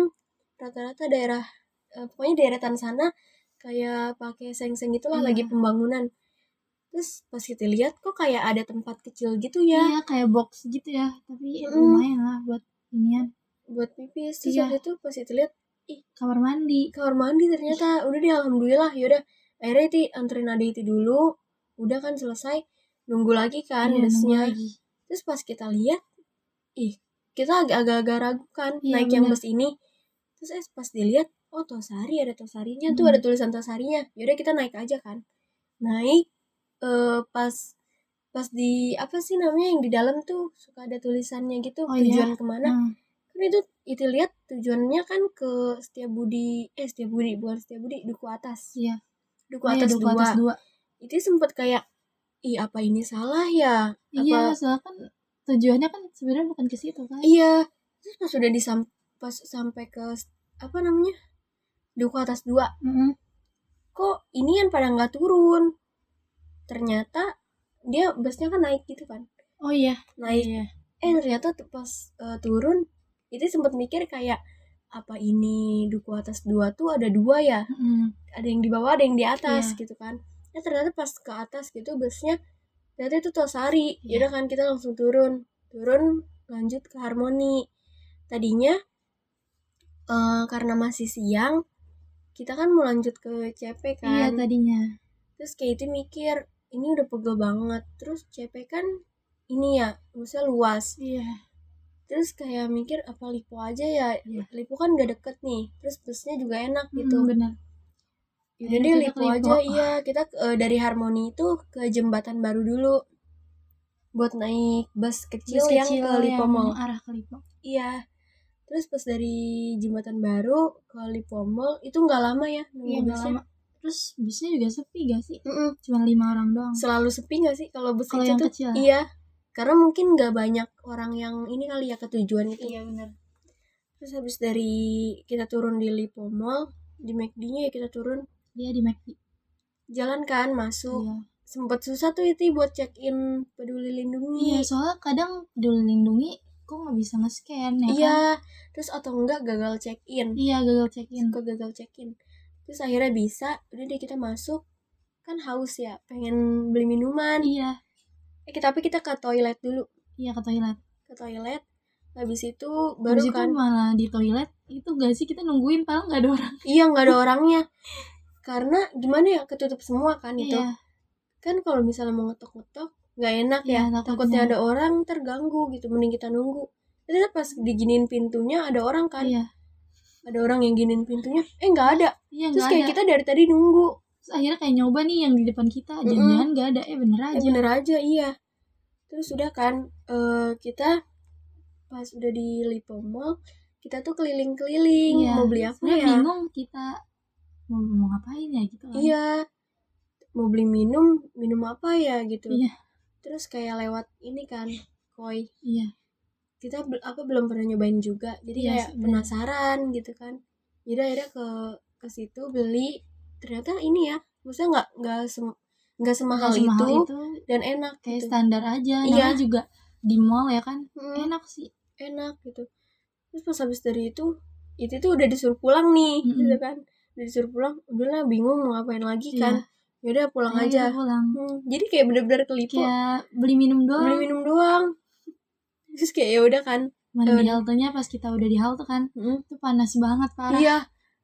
[SPEAKER 2] rata-rata daerah eh, pokoknya daerah sana kayak pakai seng-seng gitulah
[SPEAKER 1] Iya.
[SPEAKER 2] lagi pembangunan terus pas kita lihat kok kayak ada tempat kecil gitu ya
[SPEAKER 1] iya kayak box gitu ya tapi
[SPEAKER 2] Mm.
[SPEAKER 1] lumayan lah buat inian
[SPEAKER 2] buat pipis terus
[SPEAKER 1] Iya.
[SPEAKER 2] waktu itu pas kita lihat
[SPEAKER 1] kamar mandi
[SPEAKER 2] kamar mandi ternyata udah deh alhamdulillah yaudah akhirnya itu anterin adik itu dulu udah kan selesai nunggu lagi kan
[SPEAKER 1] Iya, nunggu
[SPEAKER 2] busnya
[SPEAKER 1] lagi
[SPEAKER 2] terus pas kita lihat ih kita agak- agak-agak ragu kan
[SPEAKER 1] Iya,
[SPEAKER 2] naik yang
[SPEAKER 1] bener.
[SPEAKER 2] bus ini terus eh, pas dilihat oh tosari ada tosarinya tuh
[SPEAKER 1] Hmm.
[SPEAKER 2] ada tulisan tosarinya yaudah kita naik aja kan naik eh, pas pas di apa sih namanya yang di dalam tuh suka ada tulisannya gitu
[SPEAKER 1] Oh,
[SPEAKER 2] tujuan kemana
[SPEAKER 1] Nah,
[SPEAKER 2] kan itu itu lihat tujuannya kan ke Setiabudi eh Setiabudi bukan Setiabudi Duku Atas
[SPEAKER 1] Iya.
[SPEAKER 2] Duku
[SPEAKER 1] oh iya,
[SPEAKER 2] Atas
[SPEAKER 1] Duku
[SPEAKER 2] dua
[SPEAKER 1] atas dua.
[SPEAKER 2] itu sempat kayak ih apa ini salah ya
[SPEAKER 1] Iya,
[SPEAKER 2] apa
[SPEAKER 1] soalnya kan tujuannya kan sebenarnya bukan ke situ kan?
[SPEAKER 2] Iya. Terus pas udah disam pas sampai ke apa namanya? Duku atas dua.
[SPEAKER 1] Mm-mm.
[SPEAKER 2] Kok ini yang pada nggak turun? Ternyata dia busnya kan naik gitu kan.
[SPEAKER 1] Oh iya.
[SPEAKER 2] Naik.
[SPEAKER 1] Iya.
[SPEAKER 2] Eh ternyata tuh pas eh, turun itu sempat mikir kayak apa ini duku atas dua tuh ada dua ya?
[SPEAKER 1] Mm-mm.
[SPEAKER 2] Ada yang di bawah, ada yang di atas
[SPEAKER 1] Iya.
[SPEAKER 2] gitu kan. Ya ternyata pas ke atas gitu busnya ternyata itu Tosari.
[SPEAKER 1] Iya.
[SPEAKER 2] Yaudah kan kita langsung turun. Turun lanjut ke Harmoni. Tadinya eh, karena masih siang kita kan mau lanjut ke CP
[SPEAKER 1] Iya
[SPEAKER 2] kan
[SPEAKER 1] tadinya.
[SPEAKER 2] terus kayak itu mikir ini udah pegel banget terus CP kan ini ya maksudnya luas
[SPEAKER 1] Iya.
[SPEAKER 2] terus kayak mikir apa lipo aja ya
[SPEAKER 1] Iya.
[SPEAKER 2] lipo kan gak deket nih terus busnya juga enak gitu
[SPEAKER 1] Gitu. benar.
[SPEAKER 2] Yaudah Akhirnya
[SPEAKER 1] kita
[SPEAKER 2] deh
[SPEAKER 1] ke
[SPEAKER 2] lipo
[SPEAKER 1] Lipo.
[SPEAKER 2] aja iya kita eh, dari Harmoni itu ke jembatan baru dulu buat naik bus kecil, yang ke Lipo Mall
[SPEAKER 1] arah ke Lipo.
[SPEAKER 2] Iya. Terus pas dari Jembatan Baru ke Lipo Mall itu nggak lama ya
[SPEAKER 1] Iya,
[SPEAKER 2] nunggu
[SPEAKER 1] nggak
[SPEAKER 2] busnya.
[SPEAKER 1] lama. Terus busnya juga sepi gak sih?
[SPEAKER 2] Mm-mm.
[SPEAKER 1] Cuma lima orang doang.
[SPEAKER 2] Selalu sepi nggak sih kalau bus
[SPEAKER 1] Kalau
[SPEAKER 2] kecil
[SPEAKER 1] yang
[SPEAKER 2] tuh?
[SPEAKER 1] kecil.
[SPEAKER 2] Iya. Karena mungkin nggak banyak orang yang ini kali ya ketujuan itu.
[SPEAKER 1] benar.
[SPEAKER 2] Terus habis dari kita turun di Lipo Mall di McD-nya ya kita turun
[SPEAKER 1] Dia Iya, di McD.
[SPEAKER 2] jalan kan masuk
[SPEAKER 1] Iya.
[SPEAKER 2] sempet susah tuh itu buat check in peduli lindungi
[SPEAKER 1] Iya, soalnya kadang peduli lindungi kok nggak bisa nge-scan ya
[SPEAKER 2] Iya.
[SPEAKER 1] kan?
[SPEAKER 2] terus atau enggak gagal check in
[SPEAKER 1] Iya, gagal check-in.
[SPEAKER 2] suka gagal check in terus akhirnya bisa udah deh kita masuk kan haus ya pengen beli minuman
[SPEAKER 1] Iya,
[SPEAKER 2] eh, kita- tapi kita ke toilet dulu
[SPEAKER 1] iya ke toilet.
[SPEAKER 2] ke toilet habis itu
[SPEAKER 1] Baru
[SPEAKER 2] baru
[SPEAKER 1] itu
[SPEAKER 2] kan
[SPEAKER 1] malah di toilet itu gak sih kita nungguin padahal nggak ada orang.
[SPEAKER 2] iya nggak ada orangnya karena gimana ya ketutup semua kan itu
[SPEAKER 1] Iya.
[SPEAKER 2] kan kalau misalnya mau ngetok-ngetok nggak enak
[SPEAKER 1] Iya,
[SPEAKER 2] ya
[SPEAKER 1] takutnya.
[SPEAKER 2] takutnya ada orang terganggu gitu mending kita nunggu terus pas diginin pintunya ada orang kan
[SPEAKER 1] Iya.
[SPEAKER 2] ada orang yang giniin pintunya eh nggak ada
[SPEAKER 1] Iya
[SPEAKER 2] terus
[SPEAKER 1] nggak
[SPEAKER 2] kayak
[SPEAKER 1] ada.
[SPEAKER 2] kita dari tadi nunggu
[SPEAKER 1] Terus akhirnya kayak nyoba nih yang di depan kita,
[SPEAKER 2] Mm-mm.
[SPEAKER 1] jangan-jangan nggak ada, eh bener
[SPEAKER 2] Eh
[SPEAKER 1] aja.
[SPEAKER 2] bener aja iya. Terus udah kan eh, kita pas udah di Lipo Mall kita tuh keliling-keliling
[SPEAKER 1] Iya.
[SPEAKER 2] mau beli apa
[SPEAKER 1] Sebenarnya
[SPEAKER 2] ya?
[SPEAKER 1] bingung kita mau, mau ngapain ya gitu kan.
[SPEAKER 2] Iya. Mau beli minum, minum apa ya gitu.
[SPEAKER 1] Iya.
[SPEAKER 2] Terus kayak lewat ini kan, koi.
[SPEAKER 1] Iya.
[SPEAKER 2] Kita bel- apa belum pernah nyobain juga.
[SPEAKER 1] Iya
[SPEAKER 2] Jadi kayak
[SPEAKER 1] sih, bener.
[SPEAKER 2] penasaran gitu kan. Jadi akhirnya ke ke situ beli ternyata ini ya, maksudnya nggak nggak sem- nggak semahal,
[SPEAKER 1] Nggak semahal
[SPEAKER 2] itu,
[SPEAKER 1] itu
[SPEAKER 2] dan enak
[SPEAKER 1] kayak
[SPEAKER 2] gitu.
[SPEAKER 1] standar aja.
[SPEAKER 2] Iya.
[SPEAKER 1] Namanya juga di mall ya kan.
[SPEAKER 2] Mm.
[SPEAKER 1] Enak sih.
[SPEAKER 2] enak gitu terus pas habis dari itu itu tuh udah disuruh pulang nih
[SPEAKER 1] Mm-mm. Iya.
[SPEAKER 2] gitu kan udah disuruh pulang udahlah bingung mau ngapain lagi kan yaudah pulang
[SPEAKER 1] Akhirnya
[SPEAKER 2] aja
[SPEAKER 1] kita pulang
[SPEAKER 2] Hmm, jadi kayak bener-bener kelipu
[SPEAKER 1] kayak beli minum doang
[SPEAKER 2] beli minum doang terus kayak ya udah kan
[SPEAKER 1] Mana di
[SPEAKER 2] Eh,
[SPEAKER 1] haltenya pas kita udah di halte kan
[SPEAKER 2] Mm.
[SPEAKER 1] itu panas banget parah
[SPEAKER 2] iya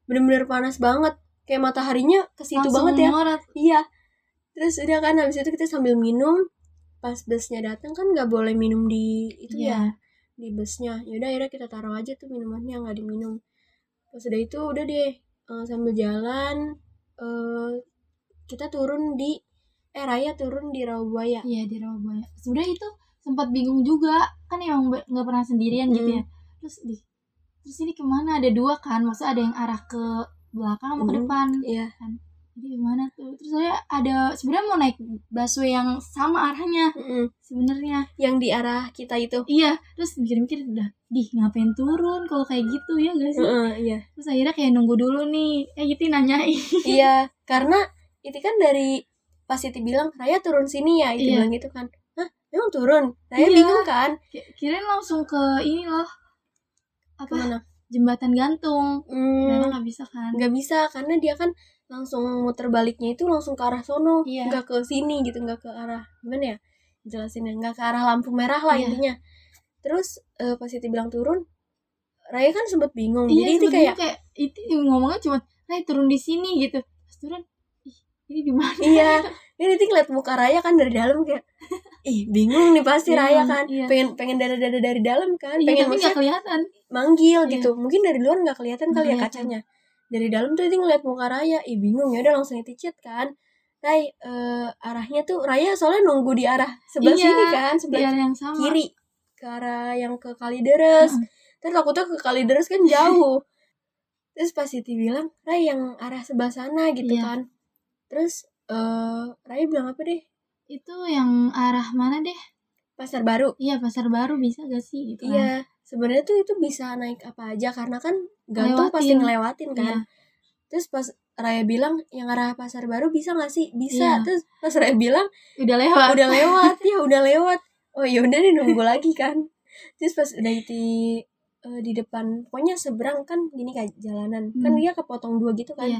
[SPEAKER 2] bener-bener panas banget kayak mataharinya ke situ
[SPEAKER 1] Langsung
[SPEAKER 2] banget ya
[SPEAKER 1] melorot.
[SPEAKER 2] iya terus udah kan habis itu kita sambil minum pas busnya datang kan nggak boleh minum di itu
[SPEAKER 1] Iya.
[SPEAKER 2] ya di busnya yaudah akhirnya kita taruh aja tuh minumannya nggak diminum pas udah itu udah deh eh, sambil jalan eh, kita turun di eh Raya turun di Rawabuaya
[SPEAKER 1] Iya di Rawabuaya. Sebenarnya itu sempat bingung juga, kan emang be- nggak pernah sendirian gitu
[SPEAKER 2] Hmm.
[SPEAKER 1] ya. Terus di terus ini kemana? Ada dua kan, maksudnya ada yang arah ke belakang sama ke
[SPEAKER 2] Hmm.
[SPEAKER 1] depan.
[SPEAKER 2] iya
[SPEAKER 1] Jadi gimana tuh? Terus saya ada sebenarnya mau naik busway yang sama arahnya
[SPEAKER 2] Mm-mm.
[SPEAKER 1] sebenarnya.
[SPEAKER 2] yang di arah kita itu
[SPEAKER 1] Iya, terus mikir-mikir udah, di ngapain turun kalau kayak gitu ya guys?
[SPEAKER 2] Heeh, iya
[SPEAKER 1] Terus akhirnya kayak nunggu dulu nih. Eh gitu nanyain.
[SPEAKER 2] iya karena itu kan dari pas Siti bilang Raya turun sini ya itu
[SPEAKER 1] Iya.
[SPEAKER 2] bilang gitu kan Hah emang turun Raya
[SPEAKER 1] Iya.
[SPEAKER 2] bingung kan
[SPEAKER 1] Ki- Kirain langsung ke ini loh. Apa?
[SPEAKER 2] kemana
[SPEAKER 1] Jembatan gantung. Memang
[SPEAKER 2] Hmm,
[SPEAKER 1] nggak bisa kan?
[SPEAKER 2] nggak bisa karena dia kan langsung muter baliknya itu langsung ke arah sono
[SPEAKER 1] Iya.
[SPEAKER 2] nggak ke sini gitu nggak ke arah gimana ya jelasinnya nggak ke arah lampu merah lah
[SPEAKER 1] Iya.
[SPEAKER 2] intinya terus eh, pas Siti bilang turun Raya kan sempet bingung
[SPEAKER 1] Iya,
[SPEAKER 2] jadi itu kayak
[SPEAKER 1] itu ngomongnya cuma, "Ray turun di sini" gitu. Pas turun, ih, ini di mana?
[SPEAKER 2] iya ini nanti ngeliat muka Raya kan dari dalam kayak ih bingung nih pasti
[SPEAKER 1] Bingung,
[SPEAKER 2] Raya kan
[SPEAKER 1] iya.
[SPEAKER 2] pengen pengen dada dada dari dalam kan
[SPEAKER 1] Iya,
[SPEAKER 2] pengen
[SPEAKER 1] tapi
[SPEAKER 2] maksudnya
[SPEAKER 1] nggak kelihatan.
[SPEAKER 2] manggil
[SPEAKER 1] Iya.
[SPEAKER 2] gitu mungkin dari luar nggak kelihatan
[SPEAKER 1] Nggak
[SPEAKER 2] kali ya
[SPEAKER 1] kelihatan.
[SPEAKER 2] kacanya dari dalam tuh itu ngeliat muka Raya ih bingung ya udah langsung itu chat kan Ray eh, arahnya tuh Raya soalnya nunggu di arah sebelah
[SPEAKER 1] Iya,
[SPEAKER 2] sini kan
[SPEAKER 1] Di
[SPEAKER 2] sebelah
[SPEAKER 1] area yang sama.
[SPEAKER 2] kiri ke arah yang ke Kalideres.
[SPEAKER 1] Mm.
[SPEAKER 2] Terus takutnya ke Kalideres kan jauh. Terus pas Siti bilang, Ray yang arah sebelah sana gitu
[SPEAKER 1] Iya.
[SPEAKER 2] kan. Terus eh Ray bilang apa deh?
[SPEAKER 1] Itu yang arah mana deh?
[SPEAKER 2] Pasar Baru.
[SPEAKER 1] Iya, Pasar Baru bisa gak sih gitu kan?
[SPEAKER 2] Iya. Sebenarnya tuh itu bisa naik apa aja karena kan gantung pasti
[SPEAKER 1] Ngelewatin.
[SPEAKER 2] ngelewatin kan.
[SPEAKER 1] Iya.
[SPEAKER 2] Terus pas Raya bilang yang arah Pasar Baru bisa gak sih? Bisa.
[SPEAKER 1] Iya.
[SPEAKER 2] Terus pas Raya bilang
[SPEAKER 1] Udah lewat.
[SPEAKER 2] udah lewat ya udah lewat oh ya udah nih nunggu lagi kan terus pas udah di eh, di depan pokoknya seberang kan gini kayak jalanan kan
[SPEAKER 1] Hmm.
[SPEAKER 2] dia kepotong dua gitu kan
[SPEAKER 1] Iya.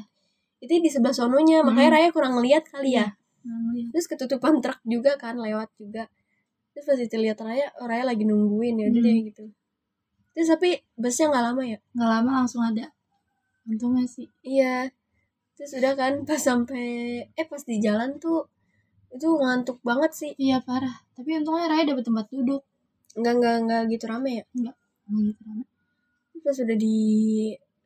[SPEAKER 2] itu di sebelah sononya makanya
[SPEAKER 1] Hmm. Iya.
[SPEAKER 2] Raya kurang ngeliat kali ya
[SPEAKER 1] Nggak ngeliat.
[SPEAKER 2] terus ketutupan truk juga kan lewat juga terus pas itu lihat Raya oh, Raya lagi nungguin ya udah
[SPEAKER 1] Hmm.
[SPEAKER 2] deh gitu terus tapi busnya nggak lama ya
[SPEAKER 1] Nggak lama langsung ada. Untungnya sih.
[SPEAKER 2] iya terus udah kan pas sampai eh pas di jalan tuh itu ngantuk banget sih
[SPEAKER 1] Iya, parah. Tapi untungnya Raya dapet tempat duduk.
[SPEAKER 2] nggak nggak nggak gitu rame ya
[SPEAKER 1] Nggak gitu kan.
[SPEAKER 2] terus udah di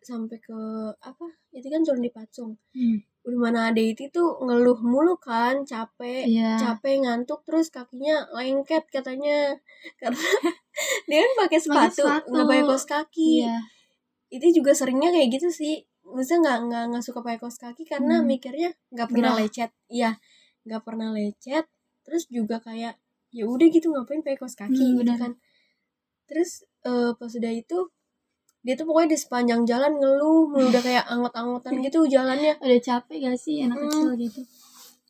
[SPEAKER 2] sampai ke apa itu kan turun di Patsung
[SPEAKER 1] Hmm.
[SPEAKER 2] udah mana ada itu tuh ngeluh mulu kan capek
[SPEAKER 1] Iya.
[SPEAKER 2] capek ngantuk terus kakinya lengket katanya karena dia kan pakai
[SPEAKER 1] Pakai
[SPEAKER 2] sepatu
[SPEAKER 1] sepatu.
[SPEAKER 2] nggak pakai kaos kaki
[SPEAKER 1] Iya.
[SPEAKER 2] itu juga seringnya kayak gitu sih maksudnya nggak nggak nggak suka pakai kaos kaki karena
[SPEAKER 1] Hmm.
[SPEAKER 2] mikirnya nggak
[SPEAKER 1] Gerah.
[SPEAKER 2] pernah lecet iya nggak pernah lecet terus juga kayak ya udah gitu ngapain pakai kaos kaki
[SPEAKER 1] Hmm,
[SPEAKER 2] gitu
[SPEAKER 1] benar.
[SPEAKER 2] kan terus eh, pas udah itu dia tuh pokoknya di sepanjang jalan ngeluh mulu, udah kayak angot-angotan gitu jalannya
[SPEAKER 1] Udah capek gak sih anak
[SPEAKER 2] Hmm.
[SPEAKER 1] kecil gitu?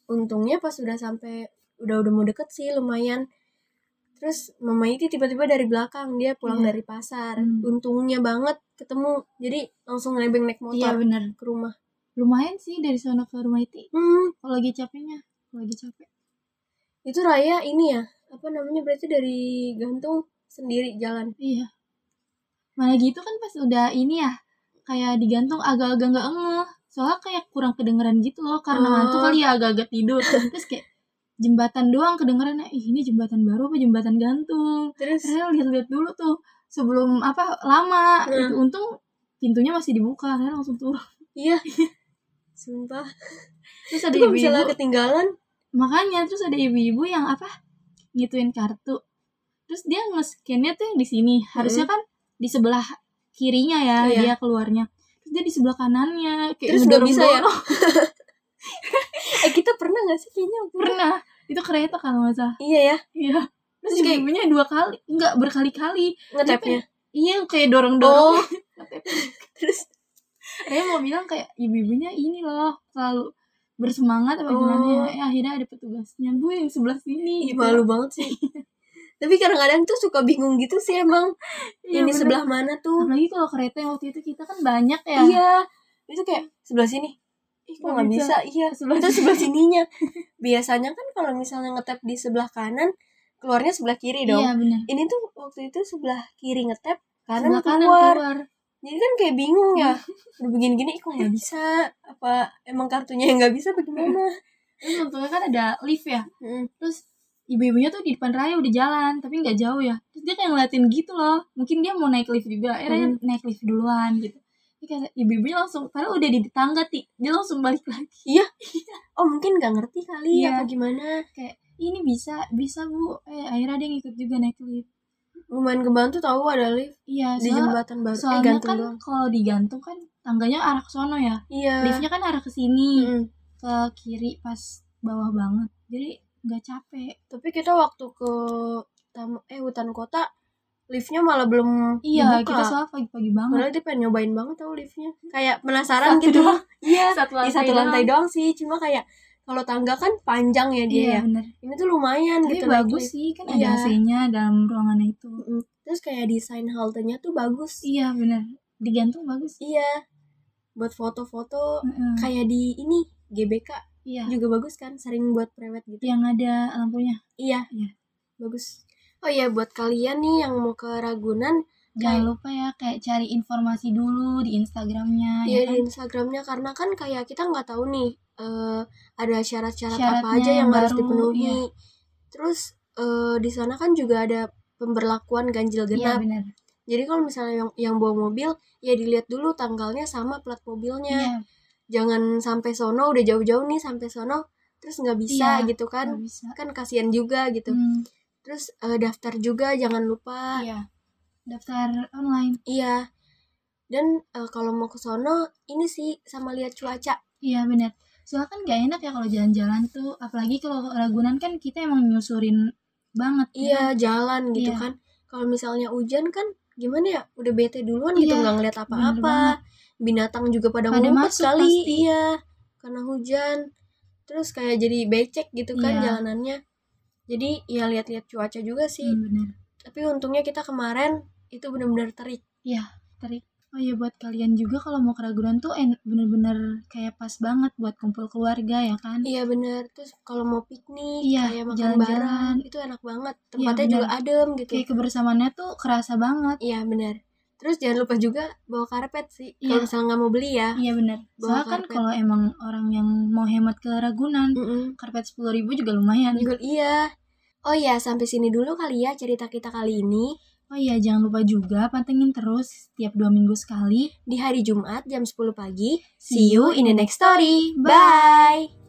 [SPEAKER 2] untungnya pas udah sampai udah udah mau deket sih lumayan terus mama itu tiba-tiba dari belakang dia pulang
[SPEAKER 1] Iya.
[SPEAKER 2] dari pasar
[SPEAKER 1] Hmm.
[SPEAKER 2] untungnya banget ketemu jadi langsung nebeng naik motor
[SPEAKER 1] Iya, bener.
[SPEAKER 2] ke rumah
[SPEAKER 1] lumayan sih dari sono ke rumah itu
[SPEAKER 2] hmm
[SPEAKER 1] kalau lagi capeknya kalau lagi capek
[SPEAKER 2] itu Raya ini ya apa namanya berarti dari gantung sendiri jalan
[SPEAKER 1] iya mana gitu kan pas udah ini ya kayak digantung agak-agak nggak ngeh soalnya kayak kurang kedengeran gitu loh karena
[SPEAKER 2] Oh.
[SPEAKER 1] ngantuk kali ya agak-agak tidur terus kayak jembatan doang kedengerannya ih ini jembatan baru apa jembatan gantung
[SPEAKER 2] terus
[SPEAKER 1] saya lihat-lihat dulu tuh sebelum apa lama
[SPEAKER 2] Hmm.
[SPEAKER 1] itu untung pintunya masih dibuka saya langsung turun
[SPEAKER 2] iya sumpah
[SPEAKER 1] terus ada
[SPEAKER 2] itu kalau misalnya
[SPEAKER 1] ibu-ibu
[SPEAKER 2] ketinggalan
[SPEAKER 1] makanya terus ada ibu-ibu yang apa ngituin kartu terus dia nge-scan-nya tuh yang di sini harusnya kan di sebelah kirinya ya
[SPEAKER 2] Hmm. Iya.
[SPEAKER 1] dia keluarnya terus dia di sebelah kanannya kayak
[SPEAKER 2] Terus nggak
[SPEAKER 1] ngedorong-
[SPEAKER 2] bisa ya?
[SPEAKER 1] dorong.
[SPEAKER 2] eh kita pernah nggak sih kayaknya
[SPEAKER 1] pernah itu kereta kalau nggak salah
[SPEAKER 2] iya ya
[SPEAKER 1] iya terus
[SPEAKER 2] Terus kayak-
[SPEAKER 1] ibunya dua kali nggak berkali-kali
[SPEAKER 2] ngetapnya
[SPEAKER 1] iya kayak dorong dorong
[SPEAKER 2] ya? oh terus
[SPEAKER 1] saya mau bilang kayak ibu-ibunya ini loh selalu bersemangat apa gimana ya
[SPEAKER 2] Oh.
[SPEAKER 1] Eh, akhirnya ada petugasnya bu yang sebelah sini
[SPEAKER 2] Ih,
[SPEAKER 1] gitu.
[SPEAKER 2] malu banget sih tapi kadang-kadang tuh suka bingung gitu sih emang
[SPEAKER 1] Iya,
[SPEAKER 2] yang di
[SPEAKER 1] bener.
[SPEAKER 2] sebelah mana tuh
[SPEAKER 1] apalagi kalau kereta yang waktu itu kita kan banyak ya Oh,
[SPEAKER 2] iya itu kayak sebelah sini ih kok nggak bisa. iya
[SPEAKER 1] Sebelah
[SPEAKER 2] itu sebelah sininya biasanya kan kalau misalnya ngetap di sebelah kanan keluarnya sebelah kiri dong
[SPEAKER 1] Iya benar.
[SPEAKER 2] ini tuh waktu itu sebelah kiri ngetap kanan
[SPEAKER 1] Sebelah kanan
[SPEAKER 2] keluar
[SPEAKER 1] keluar.
[SPEAKER 2] jadi kan kayak bingung ya udah begini gini kok nggak bisa apa emang kartunya yang nggak bisa bagaimana
[SPEAKER 1] Terus untungnya kan ada lift ya.
[SPEAKER 2] Mm.
[SPEAKER 1] Terus ibu-ibunya tuh di depan Raya udah jalan, tapi nggak jauh ya. Terus dia kayak ngeliatin gitu loh. Mungkin dia mau naik lift juga. Eh
[SPEAKER 2] Hmm.
[SPEAKER 1] Raya naik lift duluan gitu. Dia kayak ibu-ibunya langsung, padahal udah di tangga ti, dia langsung balik lagi.
[SPEAKER 2] oh mungkin nggak ngerti kali
[SPEAKER 1] Iya.
[SPEAKER 2] apa gimana
[SPEAKER 1] Ini bisa, bisa bu. Eh akhirnya dia ngikut juga naik lift.
[SPEAKER 2] lumayan kebantu tahu ada lift
[SPEAKER 1] Iya,
[SPEAKER 2] di
[SPEAKER 1] soalnya,
[SPEAKER 2] jembatan baru eh
[SPEAKER 1] soalnya
[SPEAKER 2] gantung
[SPEAKER 1] kan
[SPEAKER 2] doang
[SPEAKER 1] kalau digantung kan tangganya arah ke sono ya.
[SPEAKER 2] iya
[SPEAKER 1] Liftnya kan arah ke sini,
[SPEAKER 2] Mm-mm.
[SPEAKER 1] ke kiri pas bawah banget. Jadi nggak capek.
[SPEAKER 2] tapi kita waktu ke tam- eh hutan kota liftnya malah belum
[SPEAKER 1] Iya,
[SPEAKER 2] dibuka.
[SPEAKER 1] kita soal pagi-pagi banget.
[SPEAKER 2] Padahal dia pengen nyobain banget tau liftnya Kayak penasaran gitu
[SPEAKER 1] doang.
[SPEAKER 2] Iya
[SPEAKER 1] Satu
[SPEAKER 2] Di satu
[SPEAKER 1] doang.
[SPEAKER 2] lantai doang sih Cuma kayak Kalau tangga kan panjang ya dia
[SPEAKER 1] Iya,
[SPEAKER 2] ya
[SPEAKER 1] bener.
[SPEAKER 2] Ini tuh lumayan
[SPEAKER 1] Tapi
[SPEAKER 2] gitu naik
[SPEAKER 1] bagus
[SPEAKER 2] lift.
[SPEAKER 1] sih kan
[SPEAKER 2] Iya.
[SPEAKER 1] ada AC-nya dalam ruangan itu.
[SPEAKER 2] Mm-mm. Terus kayak desain haltenya tuh bagus
[SPEAKER 1] Iya benar. Digantung bagus.
[SPEAKER 2] Iya Buat foto-foto
[SPEAKER 1] Heeh.
[SPEAKER 2] Kayak di ini GBK
[SPEAKER 1] Iya.
[SPEAKER 2] juga bagus kan Sering buat prewed gitu
[SPEAKER 1] Yang ada lampunya.
[SPEAKER 2] Iya
[SPEAKER 1] Iya.
[SPEAKER 2] Bagus Oh iya buat kalian nih yang mau ke Ragunan
[SPEAKER 1] Jangan lupa ya kayak cari informasi dulu di Instagramnya. ya
[SPEAKER 2] Ya di
[SPEAKER 1] kan?
[SPEAKER 2] Instagramnya Karena kan kayak kita nggak tahu nih eh, Ada syarat-syarat apa
[SPEAKER 1] Syaratnya
[SPEAKER 2] aja yang,
[SPEAKER 1] yang
[SPEAKER 2] harus
[SPEAKER 1] baru,
[SPEAKER 2] dipenuhi
[SPEAKER 1] iya.
[SPEAKER 2] Terus eh, di sana kan juga ada pemberlakuan ganjil
[SPEAKER 1] Iya
[SPEAKER 2] genap.
[SPEAKER 1] benar.
[SPEAKER 2] Jadi kalau misalnya yang, yang bawa mobil, ya dilihat dulu tanggalnya sama plat mobilnya.
[SPEAKER 1] Iya.
[SPEAKER 2] Jangan sampai sono udah jauh-jauh nih sampai sono terus nggak bisa
[SPEAKER 1] Iya,
[SPEAKER 2] gitu
[SPEAKER 1] nggak
[SPEAKER 2] kan.
[SPEAKER 1] bisa.
[SPEAKER 2] Kan kasihan juga gitu.
[SPEAKER 1] Hmm,
[SPEAKER 2] Terus eh, daftar juga jangan lupa.
[SPEAKER 1] Iya. Daftar online.
[SPEAKER 2] Iya. Dan eh, kalau mau ke sono ini sih sama lihat cuaca.
[SPEAKER 1] Iya benar. Soalnya kan gak enak ya kalau jalan-jalan tuh, apalagi kalau ke Ragunan kan kita emang nyusurin banget. ya kan?
[SPEAKER 2] Iya, jalan gitu
[SPEAKER 1] Iya.
[SPEAKER 2] kan. Kalau misalnya hujan kan gimana ya? Udah bete duluan gitu
[SPEAKER 1] Iya,
[SPEAKER 2] nggak ngeliat
[SPEAKER 1] bener
[SPEAKER 2] apa-apa.
[SPEAKER 1] banget.
[SPEAKER 2] Binatang juga pada,
[SPEAKER 1] Pada
[SPEAKER 2] ngumpet
[SPEAKER 1] masuk
[SPEAKER 2] kali.
[SPEAKER 1] pasti.
[SPEAKER 2] Iya, karena hujan. Terus kayak jadi becek gitu kan
[SPEAKER 1] Iya.
[SPEAKER 2] jalanannya. Jadi ya lihat-lihat cuaca juga sih.
[SPEAKER 1] Hmm, benar.
[SPEAKER 2] Tapi untungnya kita kemarin itu benar-benar terik.
[SPEAKER 1] terik. Oh iya buat kalian juga kalau mau ke Ragunan tuh en- bener-bener kayak pas banget buat kumpul keluarga ya kan?
[SPEAKER 2] Iya bener. Terus kalau mau piknik,
[SPEAKER 1] Iya,
[SPEAKER 2] kayak makan
[SPEAKER 1] jalan-jalan. Iya,
[SPEAKER 2] bareng, itu enak banget. Tempatnya
[SPEAKER 1] bener. Iya.
[SPEAKER 2] juga adem gitu.
[SPEAKER 1] Kayak kebersamaannya tuh kerasa banget.
[SPEAKER 2] Iya benar. Terus jangan lupa juga bawa karpet sih. Kalau
[SPEAKER 1] Iya.
[SPEAKER 2] misalnya nggak mau beli ya.
[SPEAKER 1] Iya bener.
[SPEAKER 2] Bawa
[SPEAKER 1] Soalnya kan
[SPEAKER 2] karpet.
[SPEAKER 1] kalau emang orang yang mau hemat ke Ragunan,
[SPEAKER 2] Mm-mm.
[SPEAKER 1] karpet 10.000 juga lumayan.
[SPEAKER 2] Juga iya. Oh iya, sampai sini dulu kali ya cerita kita kali ini.
[SPEAKER 1] Oh iya jangan lupa juga pantengin terus setiap dua minggu sekali
[SPEAKER 2] Di hari Jumat jam 10 pagi. See you in the next story. Bye!